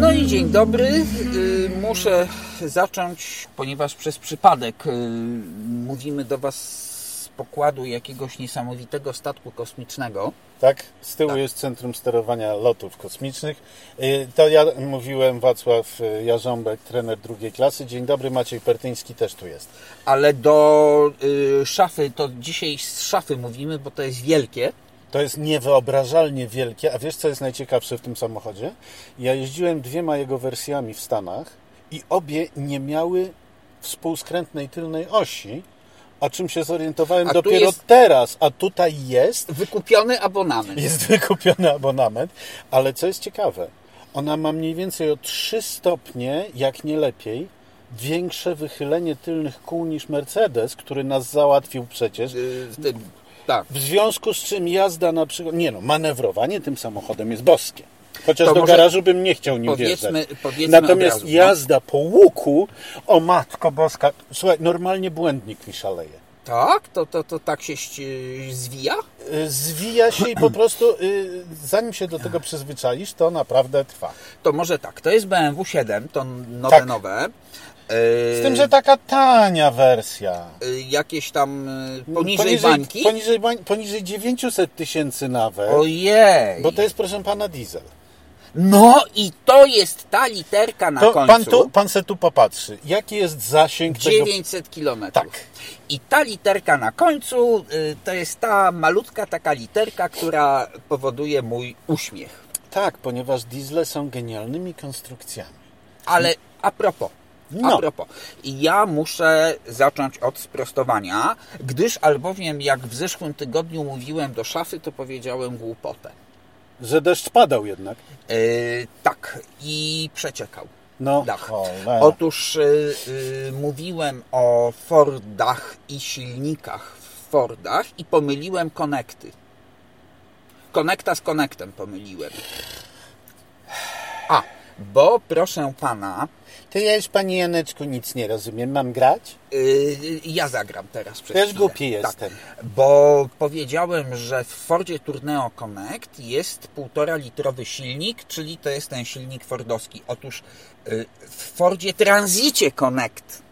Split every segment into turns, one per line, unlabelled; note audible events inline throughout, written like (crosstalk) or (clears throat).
No i dzień dobry. Y, Muszę zacząć, ponieważ przez przypadek y, mówimy do Was z pokładu jakiegoś niesamowitego statku kosmicznego.
Tak, z tyłu jest Centrum Sterowania Lotów Kosmicznych. Y, To ja mówiłem, Wacław y, Jarząbek, trener drugiej klasy. Dzień dobry, Maciej Pertyński też tu jest.
Ale do y, szafy, to dzisiaj z szafy mówimy, bo to jest wielkie.
To jest niewyobrażalnie wielkie, a wiesz co jest najciekawsze w tym samochodzie? Ja jeździłem dwiema jego wersjami w Stanach i obie nie miały współskrętnej tylnej osi, o czym się zorientowałem
A tu
dopiero
jest-
teraz, a tutaj jest
Wykupiony abonament. Y,
jest (laughs) wykupiony abonament, ale co jest ciekawe, ona ma mniej więcej o 3 stopnie, jak nie lepiej, większe wychylenie tylnych kół niż Mercedes, który nas załatwił przecież.
Y, y, Tak.
W związku z czym jazda na przykład, nie no, manewrowanie tym samochodem jest boskie. Chociaż
To
do
może
garażu bym nie chciał nim
powiedzmy-
wjeżdżać.
powiedzmy
Natomiast
od razu, no.
jazda po łuku, o matko boska, słuchaj, normalnie błędnik mi szaleje.
Tak? To, to, to tak się ści- zwija?
Y, Zwija się i
(clears throat)
po prostu, y, zanim się do tego przyzwyczaisz, to naprawdę trwa.
To może tak. To jest BMW 7, to nowe,
Tak.
nowe.
Z tym, że taka tania wersja.
Y, jakieś tam y, poniżej,
poniżej
bańki.
Poniżej, bań, poniżej 900 tysięcy nawet.
Ojej.
Bo to jest, proszę pana, diesel.
No i to jest ta literka na
To
końcu.
pan, tu, pan se tu popatrzy. Jaki jest zasięg tego...
900 km.
Tak.
I ta literka na końcu y, to jest ta malutka taka literka, która powoduje mój uśmiech.
Tak, ponieważ diesle są genialnymi konstrukcjami.
Ale a propos. A
No.
propos, ja muszę zacząć od sprostowania, gdyż albowiem jak w zeszłym tygodniu mówiłem do szafy, to powiedziałem głupotę.
Że deszcz padał jednak.
Y, tak, i przeciekał.
No,
Dach.
cholera.
Otóż y, y, mówiłem o Fordach i silnikach w Fordach i pomyliłem konekty. Konekta z konektem pomyliłem. A, bo proszę pana,
To ja już, panie Janeczku, nic nie rozumiem. Mam grać?
y, ja zagram teraz przez
Też
chwilę. Tak.
głupi jestem.
Bo powiedziałem, że w Fordzie Tourneo Connect jest 1,5 litrowy silnik, czyli to jest ten silnik fordowski. Otóż y, w Fordzie Transicie Connect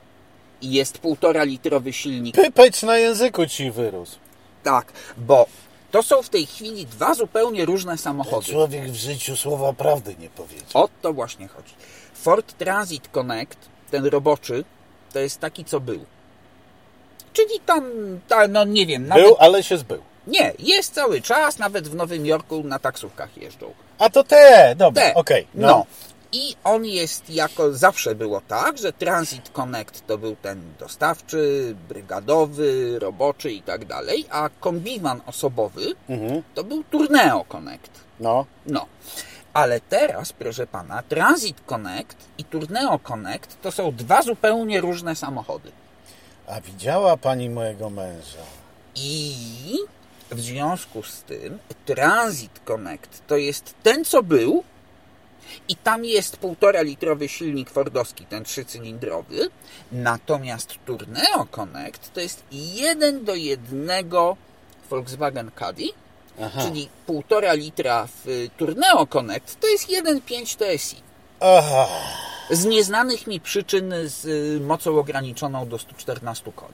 jest 1,5 litrowy silnik.
Pypeć na języku ci wyrósł.
Tak, bo to są w tej chwili dwa zupełnie różne samochody.
Człowiek w życiu słowa prawdy nie powiedział.
O to właśnie chodzi. Ford Transit Connect, ten roboczy, to jest taki, co był. Czyli tam, ta, no nie wiem, nawet
Był, ale się zbył.
Nie, jest cały czas, nawet w Nowym Jorku na taksówkach jeżdżą.
A to te, dobra,
Te.
okej.
no.
no.
I on jest jako zawsze było tak, że Transit Connect to był ten dostawczy, brygadowy, roboczy i tak dalej, a kombiwan osobowy to był Tourneo Connect.
No,
No. Ale teraz, proszę pana, Transit Connect i Tourneo Connect to są dwa zupełnie różne samochody.
a widziała pani mojego męża.
I w związku z tym Transit Connect to jest ten, co był i tam jest 1,5 litrowy silnik fordowski, ten trzycylindrowy, natomiast Tourneo Connect to jest 1 do 1 Volkswagen Caddy,
Aha.
czyli 1,5 litra w y, Tourneo Connect to jest 1,5 TSI.
Aha,
Z nieznanych mi przyczyn z y, mocą ograniczoną do 114 koni.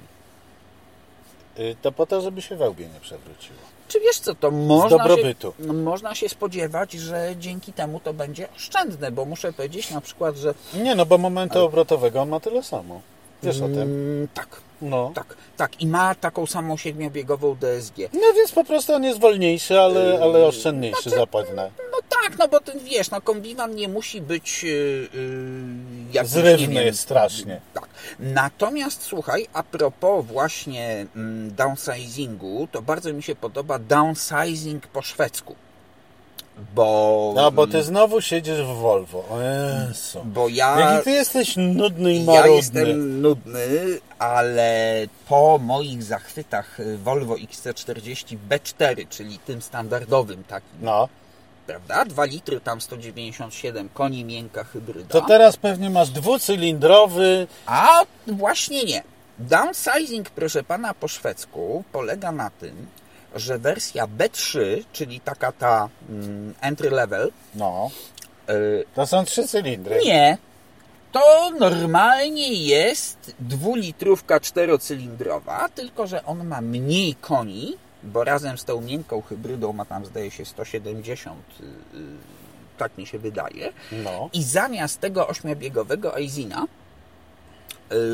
y, to po to, żeby się wełbie nie przewróciło.
Czy wiesz co, to można
dobrobytu.
Się, no, można się spodziewać, że dzięki temu to będzie oszczędne, bo muszę powiedzieć na przykład, że
Nie, no bo momentu obrotowego on ma tyle samo. Wiesz o tym?
mm, tak,
No.
tak, tak i ma taką samą siedmiobiegową DSG.
No więc po prostu on jest wolniejszy,
Y,
ale, ale oszczędniejszy zapewne.
No tak, no bo ten, wiesz, no kombiwan nie musi być yy, jak
Zrywny jest strasznie.
Tak. Natomiast słuchaj, a propos właśnie mm, downsizingu, to bardzo mi się podoba downsizing po szwedzku. Bo,
No bo ty znowu siedzisz w Volvo. O Jezu.
bo ja...
Jaki ty jesteś nudny i
Ja
marudny.
jestem nudny, ale po moich zachwytach y, Volvo XC40 B4, czyli tym standardowym takim,
No,
prawda? 2 litry, tam 197 koni, miękka hybryda.
to teraz pewnie masz dwucylindrowy.
A właśnie nie. Downsizing, proszę pana, po szwedzku polega na tym, że wersja B3, czyli taka ta mm, entry level,
No,
y,
to są trzy cylindry.
nie. To normalnie jest dwulitrówka czterocylindrowa, tylko że on ma mniej koni, bo razem z tą miękką hybrydą ma tam zdaje się 170, y, y, tak mi się wydaje.
No.
I zamiast tego ośmiobiegowego Aizina,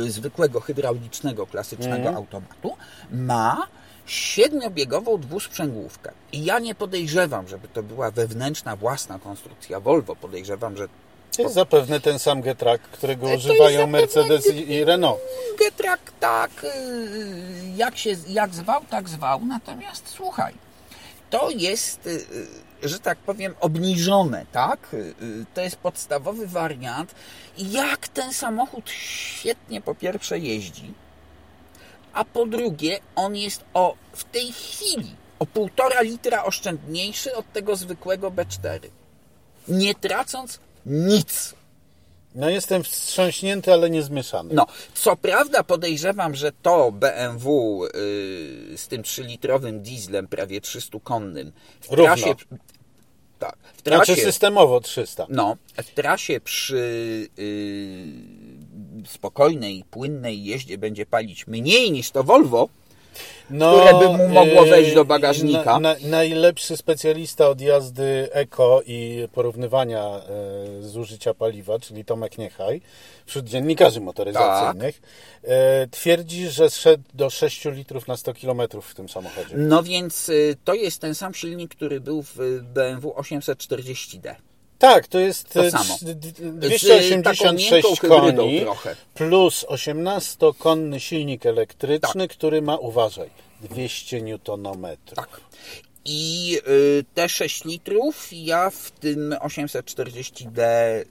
y, zwykłego hydraulicznego, klasycznego automatu, ma siedmiobiegową dwusprzęgłówkę. I ja nie podejrzewam, żeby to była wewnętrzna, własna konstrukcja Volvo. Podejrzewam, że
To jest zapewne ten sam getrak, którego
jest
używają
zapewne-
Mercedes i, i Renault.
Getrak tak, y, jak się jak zwał, tak zwał. Natomiast słuchaj, to jest, y, y, że tak powiem, obniżone, tak? Y, y, To jest podstawowy wariant. Jak ten samochód świetnie po pierwsze jeździ, a po drugie on jest o w tej chwili o półtora litra oszczędniejszy od tego zwykłego B4. Nie tracąc nic.
No jestem wstrząśnięty, ale nie zmieszany.
No, co prawda podejrzewam, że to BMW y, z tym 3-litrowym dieslem, prawie 300-konnym, w
Równo.
trasie... Tak, w trasie...
Znaczy systemowo 300.
No, w trasie przy y, spokojnej, płynnej jeździe będzie palić mniej niż to Volvo,
No,
które by mu mogło
yy,
wejść do bagażnika.
Na, na, najlepszy specjalista od jazdy eko i porównywania e, zużycia paliwa, czyli Tomek Niechaj, wśród dziennikarzy motoryzacyjnych,
Tak.
e, twierdzi, że zszedł do 6 litrów na 100 km w tym samochodzie.
No więc y, to jest ten sam silnik, który był w BMW 840D.
Tak, to jest
To
e,
samo.
d- d-
y, taką miękką
286
hybrydą
koni
trochę.
plus 18-konny silnik elektryczny, który ma, uważaj, 200 newtonometrów.
Tak. I y, te 6 litrów ja w tym 840D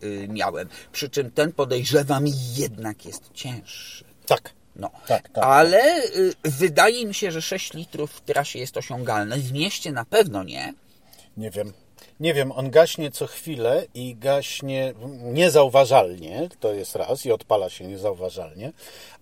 y, miałem. Przy czym ten podejrzewam jednak jest cięższy.
Tak.
No.
Tak, tak.
Ale y, wydaje mi się, że 6 litrów w trasie jest osiągalne. W mieście na pewno nie.
Nie wiem. Nie wiem, on gaśnie co chwilę i gaśnie niezauważalnie, to jest raz, i odpala się niezauważalnie,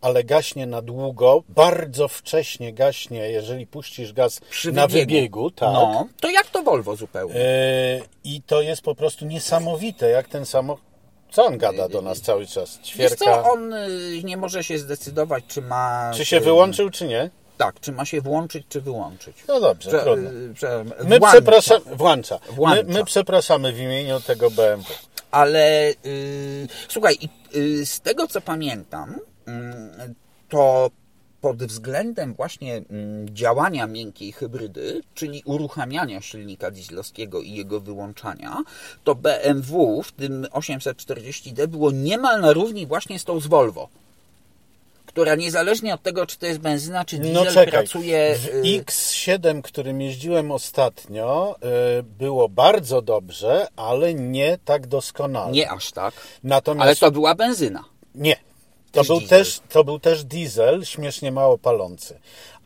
ale gaśnie na długo, bardzo wcześnie gaśnie, jeżeli puścisz gaz
Przy
na wybiegu, tak.
No, to jak to Volvo zupełnie.
Yy, I to jest po prostu niesamowite, jak ten samochód. Co on gada do nas cały czas?
Wiesz
Ćwierka.
co, on y, nie może się zdecydować, czy ma... y,
Czy się wyłączył, czy nie?
Tak, czy ma się włączyć, czy wyłączyć.
No dobrze,
Prze-
trudno.
y, prze-
My
włącza.
przepraszamy. Włącza.
Włącza.
My, my przepraszamy w imieniu tego BMW.
Ale y, słuchaj, i, y, z tego co pamiętam, mm, to pod względem właśnie mm, działania miękkiej hybrydy, czyli uruchamiania silnika dieslowskiego i jego wyłączania, to BMW w tym 840D było niemal na równi właśnie z tą z Volvo. Która niezależnie od tego, czy to jest benzyna, czy diesel,
No czekaj,
pracuje.
w
y,
X7, którym jeździłem ostatnio, y, było bardzo dobrze, ale nie tak doskonale.
Nie aż tak.
Natomiast
Ale to była benzyna.
nie. To
też
był,
diesel.
też, to był też diesel, śmiesznie mało palący.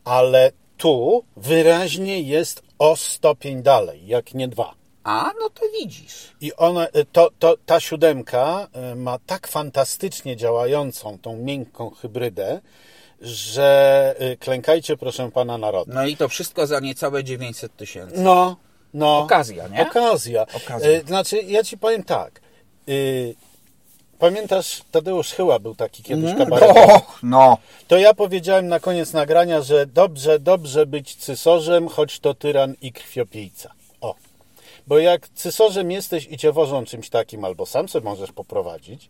Ale tu wyraźnie jest o stopień dalej, jak nie dwa.
A, no to widzisz.
I ona, y, to, to, ta siódemka y, ma tak fantastycznie działającą tą miękką hybrydę, że y, klękajcie proszę pana narodu.
No i to wszystko za niecałe 900 tysięcy.
No, no.
Okazja, nie?
Okazja.
Okazja.
Y, Znaczy, ja ci powiem tak. Y, Pamiętasz, Tadeusz Chyła był taki kiedyś kabaretowy.
Och, Mhm. no.
To ja powiedziałem na koniec nagrania, że dobrze, dobrze być cysorzem, choć to tyran i krwiopijca. O. Bo jak cysorzem jesteś i cię wożą czymś takim, albo sam sobie możesz poprowadzić,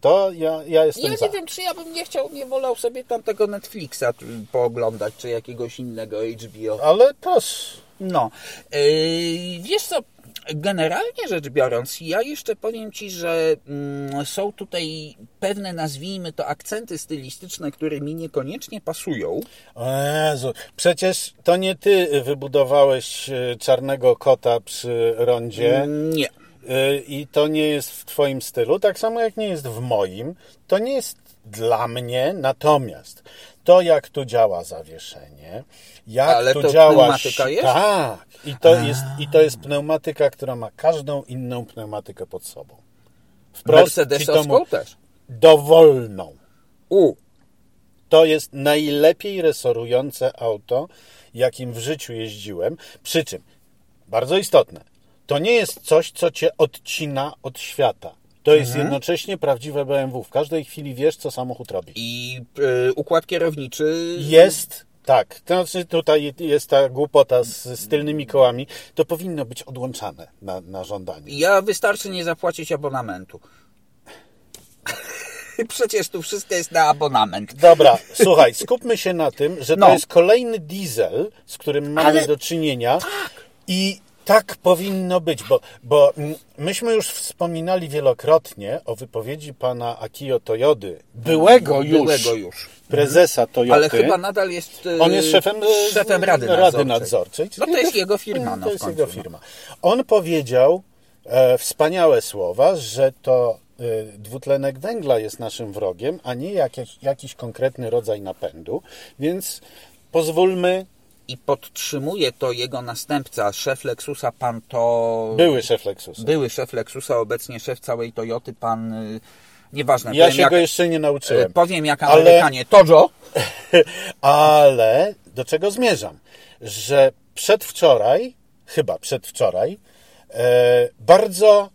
to ja, ja
Ja
jestem
nie
za.
wiem, czy ja bym nie chciał, nie wolał sobie tam tego Netflixa tu pooglądać, czy jakiegoś innego HBO.
Ale proszę.
No, yy, wiesz co, generalnie rzecz biorąc, ja jeszcze powiem Ci, że mm, są tutaj pewne, nazwijmy to, akcenty stylistyczne, które mi niekoniecznie pasują.
O Jezu, przecież to nie ty wybudowałeś e, czarnego kota przy rondzie
Mm, Nie.
e, i to nie jest w twoim stylu, tak samo jak nie jest w moim, to nie jest dla mnie, natomiast to jak tu działa zawieszenie, jak
Ale
tu
to
działa...
pneumatyka jest?
Tak, i to jest, i to jest pneumatyka, która ma każdą inną pneumatykę pod sobą. Wprost ci to
Tak. Mercedesowską
mu-
też.
Dowolną.
U.
To jest najlepiej resorujące auto, jakim w życiu jeździłem. Przy czym, bardzo istotne, to nie jest coś, co cię odcina od świata. To jest jednocześnie prawdziwe BMW. W każdej chwili wiesz, co samochód robi.
I y, układ kierowniczy.
Jest. Tak, to znaczy tutaj jest ta głupota z, z tylnymi kołami. To powinno być odłączane na, na żądanie.
Ja wystarczy nie zapłacić abonamentu. (laughs) Przecież tu wszystko jest na abonament.
Dobra,
(laughs)
słuchaj, skupmy się na tym, że to
No.
jest kolejny diesel, z którym mamy
Ale-
do czynienia i tak powinno być, bo, bo mm, myśmy już wspominali wielokrotnie o wypowiedzi pana Akio Toyody, No, byłego już,
Byłego już.
prezesa Toyoty.
Ale chyba nadal jest. y,
On jest szefem, e,
szefem Rady,
Rady
Nadzorczej.
Nadzorczej.
No to jest jego firma. No,
to
w
jest
końcu,
jego firma. On powiedział e, wspaniałe słowa, że to e, dwutlenek węgla jest naszym wrogiem, a nie jakiś, jakiś konkretny rodzaj napędu, więc pozwólmy,
I podtrzymuje to jego następca, szef Lexusa, pan to.
były szef Lexusa.
Były szef Lexusa, obecnie szef całej Toyoty, pan. y, Nieważne,
Ja
powiem,
się
jak,
go jeszcze nie
e,
nauczyłem,
powiem jak
Ale-
Amerykanie. Tojo!
(laughs) ale do czego zmierzam? Że przedwczoraj, chyba przedwczoraj, e, bardzo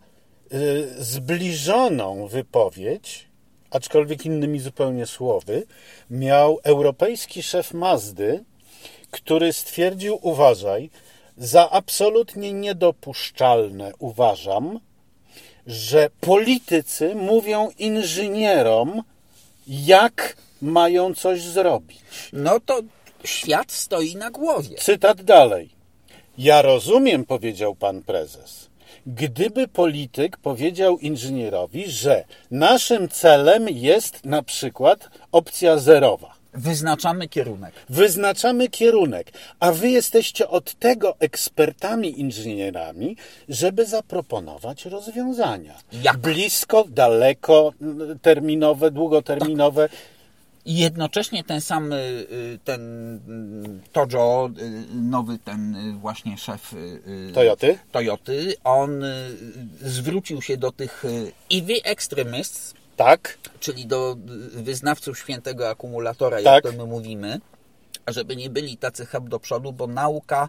e, zbliżoną wypowiedź, aczkolwiek innymi zupełnie słowy, miał europejski szef Mazdy, który stwierdził, uważaj, za absolutnie niedopuszczalne uważam, że politycy mówią inżynierom, jak mają coś zrobić.
No to świat stoi na głowie.
Cytat dalej. Ja rozumiem, powiedział pan prezes. Gdyby polityk powiedział inżynierowi, że naszym celem jest na przykład opcja zerowa.
Wyznaczamy kierunek.
Wyznaczamy kierunek, a wy jesteście od tego ekspertami inżynierami, żeby zaproponować rozwiązania.
Jak?
Blisko, daleko, n- terminowe, długoterminowe.
I jednocześnie ten sam y, y, ten mm, Tojo, y, nowy ten y, właśnie szef y, y,
Toyoty?
Toyoty, on y, zwrócił się do tych y, EV extremists,
Tak?
czyli do y, wyznawców świętego akumulatora,
Tak.
jak to my mówimy, żeby nie byli tacy hab do przodu, bo nauka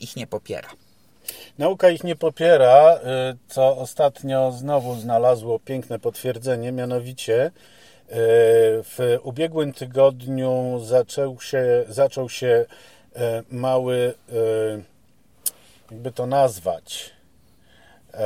ich nie popiera.
Nauka ich nie popiera, y, co ostatnio znowu znalazło piękne potwierdzenie, mianowicie y, w ubiegłym tygodniu zaczął się, zaczął się y, mały, y, jakby to nazwać, y,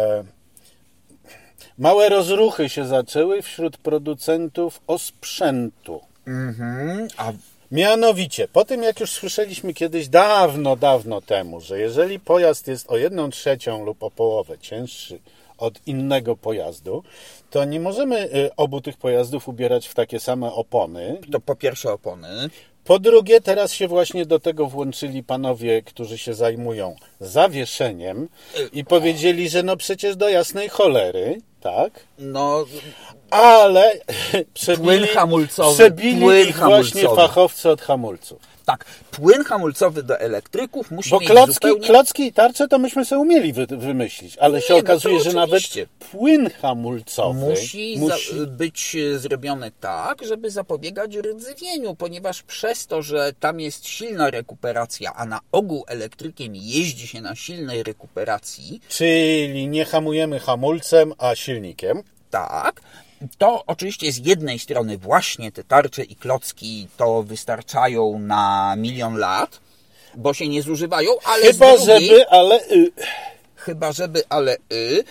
małe rozruchy się zaczęły wśród producentów osprzętu.
Mhm, a
Mianowicie, po tym jak już słyszeliśmy kiedyś dawno, dawno temu, że jeżeli pojazd jest o jedną trzecią lub o połowę cięższy od innego pojazdu, to nie możemy y, obu tych pojazdów ubierać w takie same opony.
to po pierwsze opony,
Po drugie, teraz się właśnie do tego włączyli panowie, którzy się zajmują zawieszeniem i powiedzieli, że no przecież do jasnej cholery, tak?
no
Ale (laughs) przebili,
hamulcowy, płyn
przebili ich właśnie
hamulcowy.
fachowcy od hamulców.
tak, płyn hamulcowy do elektryków musi
Bo
mieć
klocki,
zupełnie...
klocki i tarcze to myśmy sobie umieli wy, wymyślić, ale się
Nie, no to
okazuje, że nawet
oczywiście.
płyn hamulcowy
Musi,
musi-
Za, być e, zrobione tak, żeby zapobiegać rdzewieniu, ponieważ przez to, że tam jest silna rekuperacja, a na ogół elektrykiem jeździ się na silnej rekuperacji,
Czyli nie hamujemy hamulcem, a silnikiem.
tak, to oczywiście z jednej strony właśnie te tarcze i klocki to wystarczają na milion lat, bo się nie zużywają, ale
Chyba,
z drugiej,
żeby, ale y,
chyba żeby, ale y,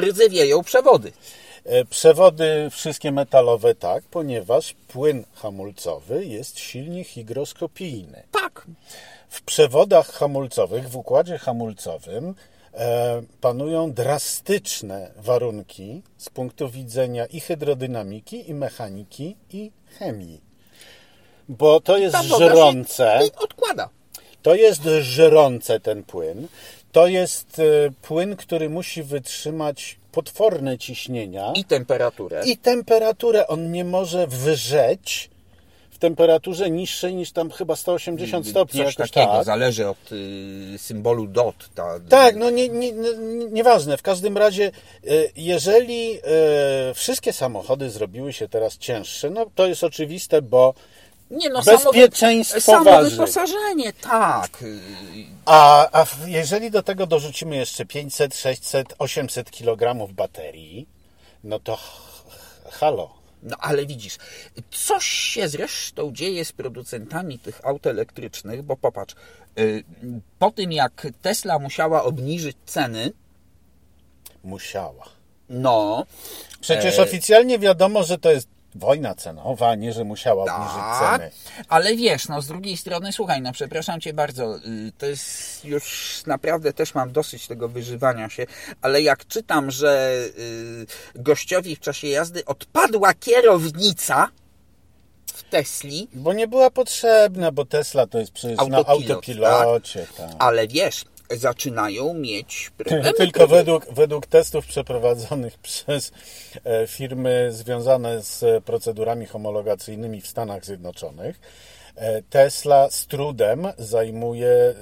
rdzewieją przewody.
e, przewody wszystkie metalowe tak, ponieważ płyn hamulcowy jest silnik hygroskopijny.
Tak,
W przewodach hamulcowych, w układzie hamulcowym e, panują drastyczne warunki z punktu widzenia i hydrodynamiki, i mechaniki, i chemii. Bo to jest
ta woda
żrące,
się odkłada.
to jest żrące ten płyn. To jest e, płyn, który musi wytrzymać potworne ciśnienia
I temperaturę.
i temperaturę. On nie może wyrzeć w temperaturze niższej niż tam chyba 180
Mm,
stopni.
Coś
jakoś
takiego,
tak.
zależy od y, symbolu DOT. Ta,
Tak, no nie, nie, nie, nieważne. W każdym razie, y, jeżeli y, wszystkie samochody zrobiły się teraz cięższe, no to jest oczywiste, bo
Nie no,
Bezpieczeństwo
samo, samo
waży.
wyposażenie, tak.
A, a w- jeżeli do tego dorzucimy jeszcze 500, 600, 800 kg baterii, no to ch- ch- halo.
No ale widzisz, coś się zresztą dzieje z producentami tych aut elektrycznych, bo popatrz, y, po tym jak Tesla musiała obniżyć ceny,
Musiała.
no,
Przecież oficjalnie wiadomo, że to jest wojna cenowa, nie że musiała obniżyć
tak,
ceny.
ale wiesz, no z drugiej strony, słuchaj, no przepraszam Cię bardzo, y, to jest już naprawdę też mam dosyć tego wyżywania się, ale jak czytam, że y, gościowi w czasie jazdy odpadła kierownica w Tesli,
Bo nie była potrzebna, bo Tesla to jest przecież na
Autopilot, tak.
autopilocie. Tak.
ale wiesz, zaczynają mieć problemy.
Tylko według, według testów przeprowadzonych (laughs) przez e, firmy związane z e, procedurami homologacyjnymi w Stanach Zjednoczonych, e, Tesla z trudem zajmuje e,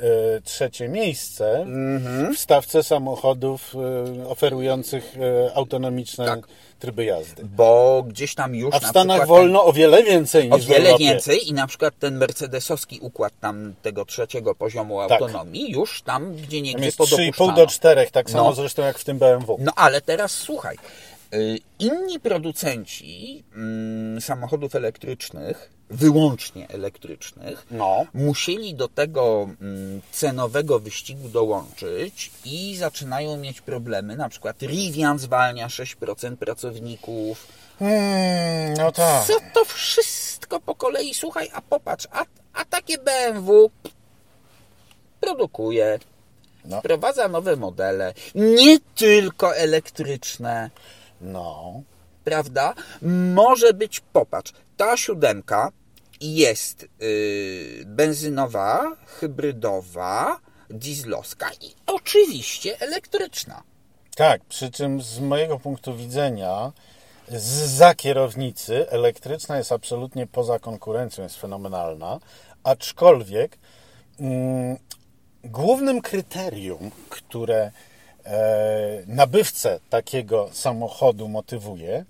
trzecie miejsce
Mhm.
w stawce samochodów e, oferujących e, autonomiczne tryby jazdy.
Bo gdzieś tam już
A w
Tak. na
Stanach
przykład ten-
wolno o wiele więcej
o
niż w
wiele
Europie.
więcej i na przykład ten mercedesowski układ tam tego trzeciego poziomu
Tak.
autonomii już tam gdzie
Tam
niegdzie
jest 3,5
podopuszczano.
do 4, tak samo
No.
zresztą jak w tym BMW.
No ale teraz słuchaj, y, inni producenci mm, samochodów elektrycznych, wyłącznie elektrycznych,
No.
musieli do tego mm, cenowego wyścigu dołączyć i zaczynają mieć problemy. Na przykład Rivian zwalnia 6% pracowników.
Hmm, no tak.
Co to wszystko po kolei, słuchaj, a popatrz, a, a takie BMW produkuje,
No.
wprowadza nowe modele, nie tylko elektryczne,
No.
prawda? Może być, popatrz, ta siódemka jest yy, benzynowa, hybrydowa, dieslowska i oczywiście elektryczna.
Tak, przy czym z mojego punktu widzenia z za kierownicy elektryczna jest absolutnie poza konkurencją, jest fenomenalna, aczkolwiek mm, głównym kryterium, które e, nabywcę takiego samochodu motywuje,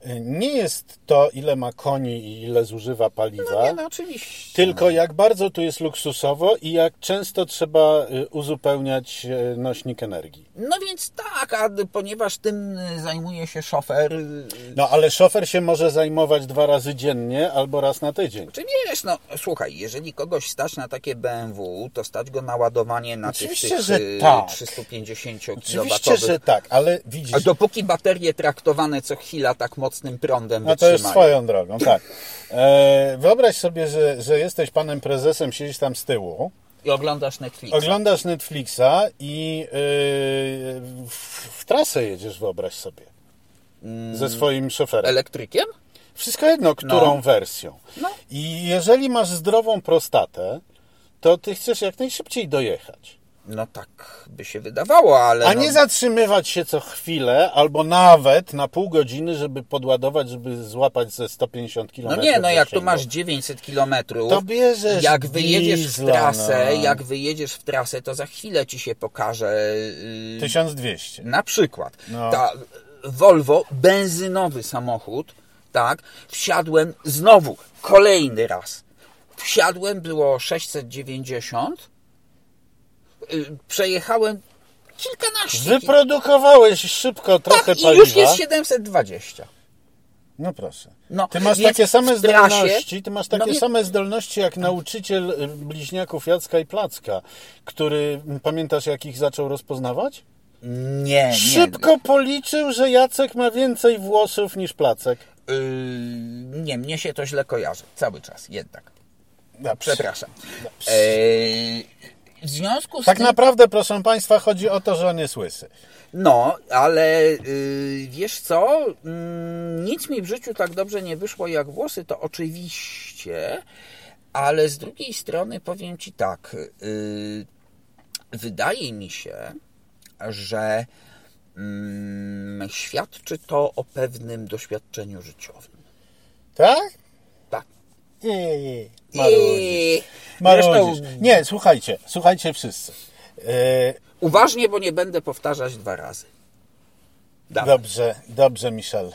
e, nie jest to ile ma koni i ile zużywa paliwa,
No nie, no oczywiście.
tylko jak bardzo tu jest luksusowo i jak często trzeba y, uzupełniać y, nośnik energii.
No więc tak, a ponieważ tym y, zajmuje się szofer, y,
No ale szofer się może zajmować dwa razy dziennie albo raz na tydzień.
Czy wiesz, no słuchaj, jeżeli kogoś stać na takie BMW, to stać go na ładowanie na tych,
Oczywiście,
tych
że
y,
tak.
350
Oczywiście,
kW.
że tak, ale widzisz,
A dopóki baterie traktowane co chwila tak mocnym prądem
no to
wytrzymają.
jest swoją drogą, tak. E, wyobraź sobie, że, że jesteś panem prezesem, siedzisz tam z tyłu,
I oglądasz Netflix.
oglądasz Netflixa i y, w, w trasę jedziesz, wyobraź sobie, ze swoim szoferem.
Elektrykiem?
Wszystko jedno, którą
No.
wersją.
No.
I jeżeli masz zdrową prostatę, to ty chcesz jak najszybciej dojechać.
No tak by się wydawało, ale
A
no,
nie zatrzymywać się co chwilę, albo nawet na pół godziny, żeby podładować, żeby złapać ze 150 km.
no nie, no jak tu masz 900 kilometrów,
To bierzesz
jak wyjedziesz w
diesla,
trasę,
no.
jak wyjedziesz w trasę, to za chwilę ci się pokaże y,
1200.
Na przykład
No.
ta Volvo, benzynowy samochód, tak, wsiadłem znowu, kolejny raz. Wsiadłem, było 690, y, przejechałem kilkanaście kil-
Wyprodukowałeś szybko trochę
tak, i
paliwa.
już jest 720.
No proszę.
No,
ty masz
więc
takie same
w trasie-
zdolności, ty masz takie
No nie-
same zdolności jak nauczyciel y, bliźniaków Jacka i Placka, który m, pamiętasz jak ich zaczął rozpoznawać?
Nie, nie.
Szybko policzył, że Jacek ma więcej włosów niż Placek.
Y, nie, mnie się to źle kojarzy. Cały czas, jednak.
Na
No, Przepraszam. Eee, w związku z
Tak
tym...
naprawdę, proszę Państwa, chodzi o to, że on jest łysy.
No, ale y, wiesz co? Mm, nic mi w życiu tak dobrze nie wyszło jak włosy, to oczywiście, ale z drugiej strony powiem ci tak. y, wydaje mi się, że mm, świadczy to o pewnym doświadczeniu życiowym.
Tak?
Tak.
Jej.
I-
Marudzisz.
Zresztą
Nie, słuchajcie, słuchajcie wszyscy. Yy,
uważnie, bo nie będę powtarzać dwa razy. Dawaj.
Dobrze, dobrze, (laughs) Michel.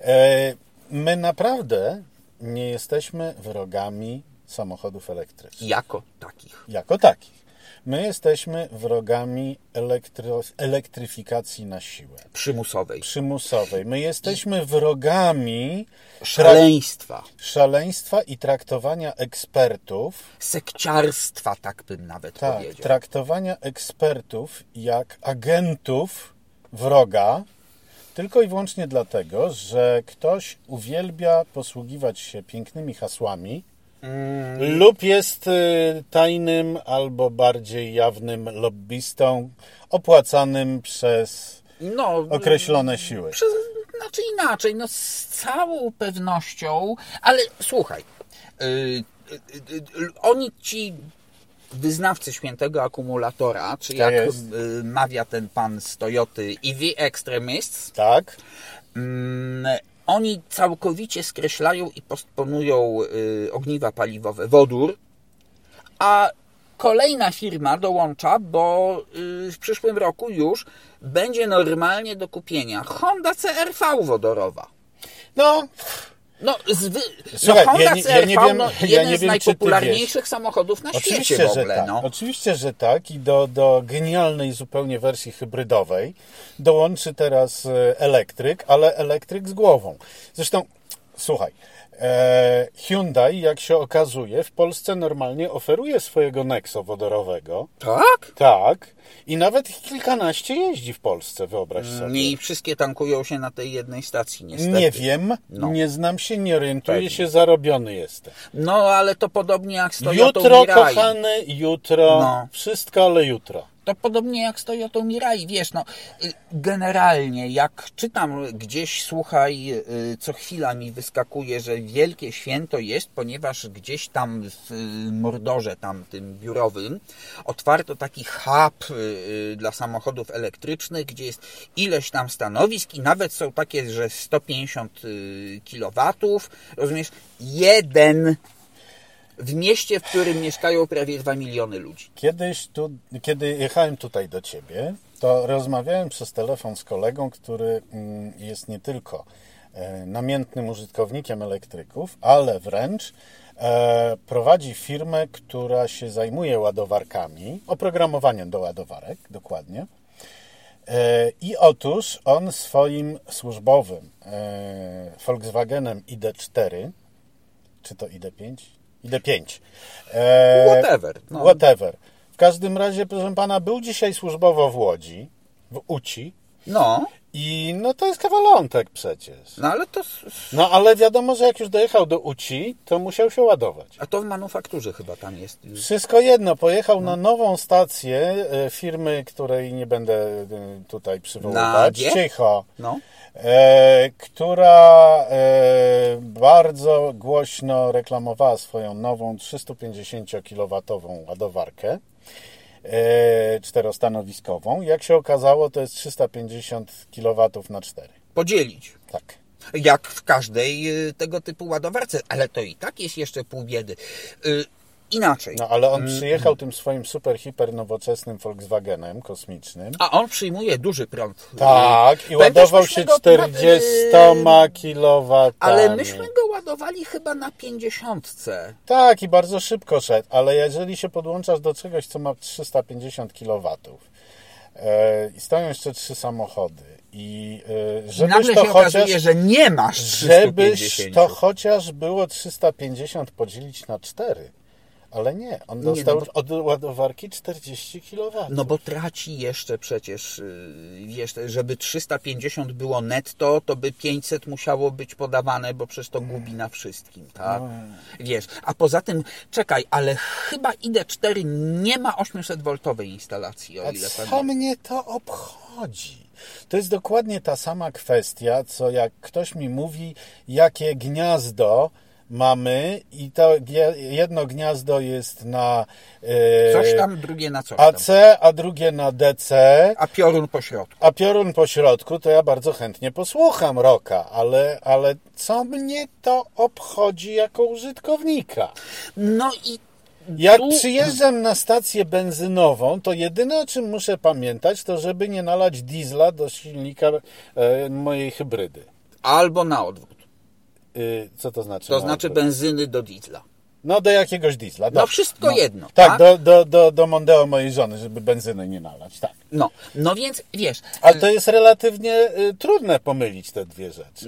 E, My naprawdę nie jesteśmy wrogami samochodów elektrycznych
jako takich.
jako takich. My jesteśmy wrogami elektro- elektryfikacji na siłę,
Przymusowej.
przymusowej. My jesteśmy wrogami
Szaleństwa.
szaleństwa i traktowania ekspertów,
Sekciarstwa, tak bym nawet
tak,
powiedział.
traktowania ekspertów jak agentów wroga, tylko i wyłącznie dlatego, że ktoś uwielbia posługiwać się pięknymi hasłami lub jest y, tajnym albo bardziej jawnym lobbystą opłacanym przez
No,
określone siły.
przez, znaczy inaczej, no z całą pewnością, ale słuchaj, yy, yy, yy, yy, oni ci wyznawcy świętego akumulatora, czy jak
jest.
yy, mawia ten pan z Toyoty EV Extremists,
Tak?
Mm, Oni całkowicie skreślają i postponują y, ogniwa paliwowe, wodór, a kolejna firma dołącza, bo y, w przyszłym roku już będzie normalnie do kupienia Honda CRV wodorowa.
No,
No, zwy...
Słuchaj,
no Honda
ja nie- ja
CRV,
nie wiem-
no,
ja
jeden
nie
z
wiem, czy ty
najpopularniejszych samochodów na
oczywiście,
świecie w ogóle.
że tak.
no.
Oczywiście, że tak. I do, do genialnej zupełnie wersji hybrydowej dołączy teraz e, elektryk, ale elektryk z głową. Zresztą, słuchaj, e, Hyundai, jak się okazuje, w Polsce normalnie oferuje swojego Nexo wodorowego.
Tak?
Tak. I nawet ich kilkanaście jeździ w Polsce, wyobraź sobie.
I wszystkie tankują się na tej jednej stacji, niestety.
Nie wiem,
No.
nie znam się, nie orientuję
Pewnie.
się, zarobiony jestem.
No, ale to podobnie jak z Toyotą
Jutro,
Mirai.
kochany, jutro,
No.
wszystko, ale jutro.
To podobnie jak z Toyotą Mirai, wiesz, no y, generalnie jak czytam gdzieś, słuchaj, y, co chwila mi wyskakuje, że wielkie święto jest, ponieważ gdzieś tam w y, mordorze tam tym biurowym otwarto taki hub y, y, dla samochodów elektrycznych, gdzie jest ileś tam stanowisk i nawet są takie, że 150 kW, rozumiesz, jeden w mieście, w którym mieszkają prawie 2 miliony ludzi.
Kiedyś tu, kiedy jechałem tutaj do ciebie, to rozmawiałem przez telefon z kolegą, który mm, jest nie tylko e, namiętnym użytkownikiem elektryków, ale wręcz e, prowadzi firmę, która się zajmuje ładowarkami, oprogramowaniem do ładowarek dokładnie. E, I otóż on swoim służbowym e, Volkswagenem ID4, czy to ID5? ID5. E,
Whatever. No.
Whatever. W każdym razie, proszę pana, był dzisiaj służbowo w Łodzi, w Uci.
No,
I no to jest kawalątek przecież.
no ale to. s- s-
No ale wiadomo, że jak już dojechał do Uci, to musiał się ładować.
A to w manufakturze chyba tam jest.
Wszystko jedno, pojechał
No.
na nową stację e, firmy, której nie będę e, tutaj przywoływać.
Na G?
Cicho.
No.
e, która e, bardzo głośno reklamowała swoją nową 350-kilowatową ładowarkę e, czterostanowiskową. Jak się okazało, to jest 350 kW na 4.
Podzielić.
Tak.
Jak w każdej y, tego typu ładowarce, ale to i tak jest jeszcze pół biedy. Y, inaczej.
No ale on przyjechał tym swoim super, hiper nowoczesnym Volkswagenem kosmicznym.
A on przyjmuje duży prąd. Y,
Tak, i
Pamiętasz,
ładował
myśmy
się
go-
40 kW.
Ale myśmy go ładowali chyba na pięćdziesiątce.
Tak, i bardzo szybko szedł, ale jeżeli się podłączasz do czegoś, co ma 350 kW e, i stoją jeszcze trzy samochody i e,
I
żebyś
nagle
to
się
chociaż,
okazuje, że nie masz
żebyś
350.
to chociaż było 350 podzielić na 4, ale nie, on dostał
no
od ładowarki 40 kW.
No bo traci jeszcze przecież, yy, wiesz, żeby 350 było netto, to by 500 musiało być podawane, bo przecież to gubi na wszystkim, tak?
No.
Wiesz, a poza tym, czekaj, ale chyba ID4 nie ma 800-woltowej instalacji, o
A
ile
co mnie to obchodzi? To jest dokładnie ta sama kwestia, co jak ktoś mi mówi, jakie gniazdo mamy i to gie- jedno gniazdo jest na e,
Coś tam, drugie na coś tam.
AC, a drugie na DC,
A piorun po środku.
a piorun po środku, to ja bardzo chętnie posłucham roka, ale, ale co mnie to obchodzi jako użytkownika?
No i
Jak
Tu-
przyjeżdżam na stację benzynową, to jedyne o czym muszę pamiętać, to żeby nie nalać diesla do silnika e, mojej hybrydy.
albo na odwrót.
Y, co to znaczy?
To
No,
znaczy
to-
benzyny do diesla.
No do jakiegoś diesla. dobrze.
wszystko jedno,
Tak,
tak?
Do, do, do, do Mondeo mojej żony, żeby benzyny nie nalać, tak.
No, no więc wiesz,
Ale to jest relatywnie y, trudne pomylić te dwie rzeczy.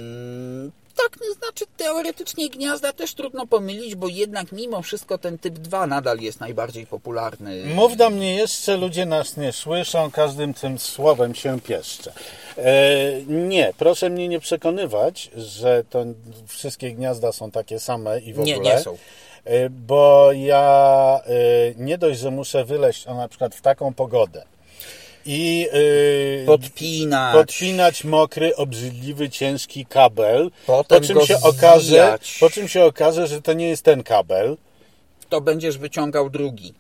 tak, no, znaczy teoretycznie gniazda też trudno pomylić, bo jednak mimo wszystko ten typ 2 nadal jest najbardziej popularny.
Mów do mnie jeszcze, ludzie nas nie słyszą, każdym tym słowem się pieszczę. E, nie, proszę mnie nie przekonywać, że to wszystkie gniazda są takie same i w
Nie,
ogóle.
nie są.
E, Bo ja e, nie dość, że muszę wyleźć o, na przykład w taką pogodę i e,
Podpinać.
podpinać mokry, obrzydliwy, ciężki kabel,
Potem
po czym
go
się okaże,
zwijać.
po czym się okaże, że to nie jest ten kabel.
To będziesz wyciągał drugi.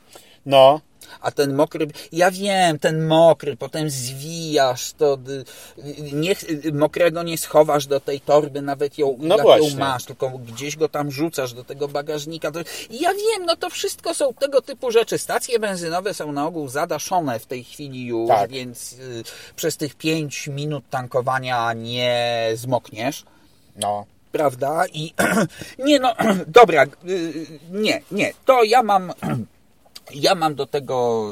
No,
A ten mokry, ja wiem, ten mokry, potem zwijasz, to y, y, nie, y, mokrego nie schowasz do tej torby, nawet ją,
No
jak
właśnie.
ją masz, tylko gdzieś go tam rzucasz do tego bagażnika. To- Ja wiem, no to wszystko są tego typu rzeczy. Stacje benzynowe są na ogół zadaszone w tej chwili już,
Tak.
więc y, przez tych 5 minut tankowania nie zmokniesz
no.
prawda? I (clears throat) nie no, dobra, y, nie, nie, to ja mam. (clears throat) Ja mam do tego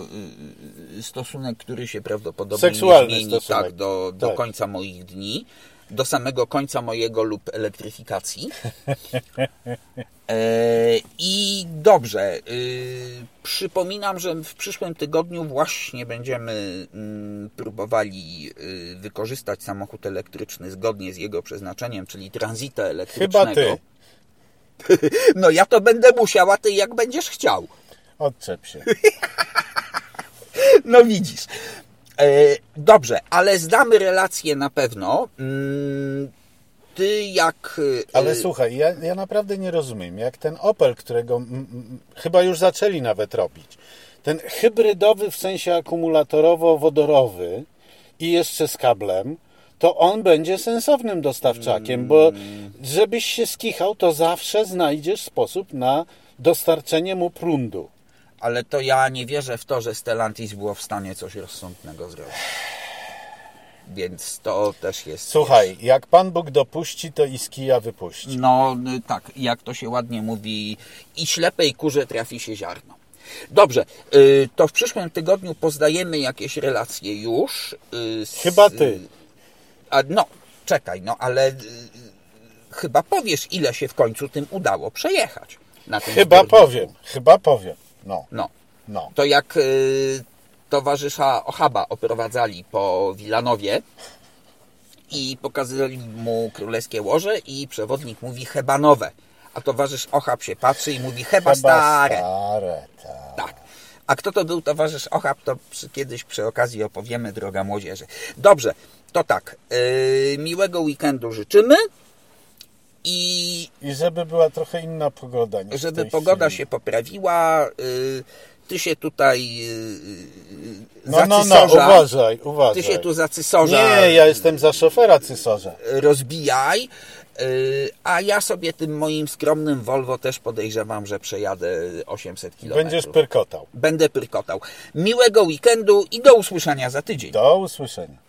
y, stosunek, który się prawdopodobnie
Seksualny
nie zmieni
stosunek.
tak, do, do
Tak.
końca moich dni, do samego końca mojego lub elektryfikacji. E, I dobrze, y, przypominam, że w przyszłym tygodniu właśnie będziemy mm, próbowali y, wykorzystać samochód elektryczny zgodnie z jego przeznaczeniem, czyli tranzyta elektrycznego.
Chyba ty.
(laughs) No ja to będę musiała, ty jak będziesz chciał.
Odczep się.
No widzisz. E, Dobrze, ale zdamy relację na pewno. Mm, Ty jak... y,
Ale
y,
słuchaj, ja, ja naprawdę nie rozumiem, jak ten Opel, którego mm, mm, chyba już zaczęli nawet robić, ten hybrydowy w sensie akumulatorowo-wodorowy i jeszcze z kablem, to on będzie sensownym dostawczakiem, bo żebyś się skichał, to zawsze znajdziesz sposób na dostarczenie mu prądu.
Ale to ja nie wierzę w to, że Stellantis było w stanie coś rozsądnego zrobić. Więc to też jest.
Słuchaj, jak Pan Bóg dopuści, to i z kija wypuści.
No y, tak, jak to się ładnie mówi, i ślepej kurze trafi się ziarno. Dobrze, y, to w przyszłym tygodniu pozdajemy jakieś relacje już. y, z-
Chyba ty.
A, no, czekaj, no ale y, y, chyba powiesz, ile się w końcu tym udało przejechać. Na tym
Chyba
zbiorniku.
powiem, chyba powiem. No,
No.
no.
to jak y, towarzysza Ochaba oprowadzali po Wilanowie i pokazali mu królewskie łoże i przewodnik mówi hebanowe, a towarzysz Ochab się patrzy i mówi heba stare.
stare tak.
Tak. A kto to był towarzysz Ochab, to przy, kiedyś przy okazji opowiemy, droga młodzieży. Dobrze, to tak. y, miłego weekendu życzymy i
I żeby była trochę inna pogoda. Niż w
żeby
tej
pogoda
chwili.
się poprawiła. y, Ty się tutaj y, y,
No, no, no,
zacysorza-
uważaj, uważaj.
Ty się tu zacysorza
Nie, ja jestem za szofera cysarza.
rozbijaj, y, a ja sobie tym moim skromnym Volvo też podejrzewam, że przejadę 800 km.
Będziesz pyrkotał.
Będę pyrkotał. Miłego weekendu i do usłyszenia za tydzień.
Do usłyszenia.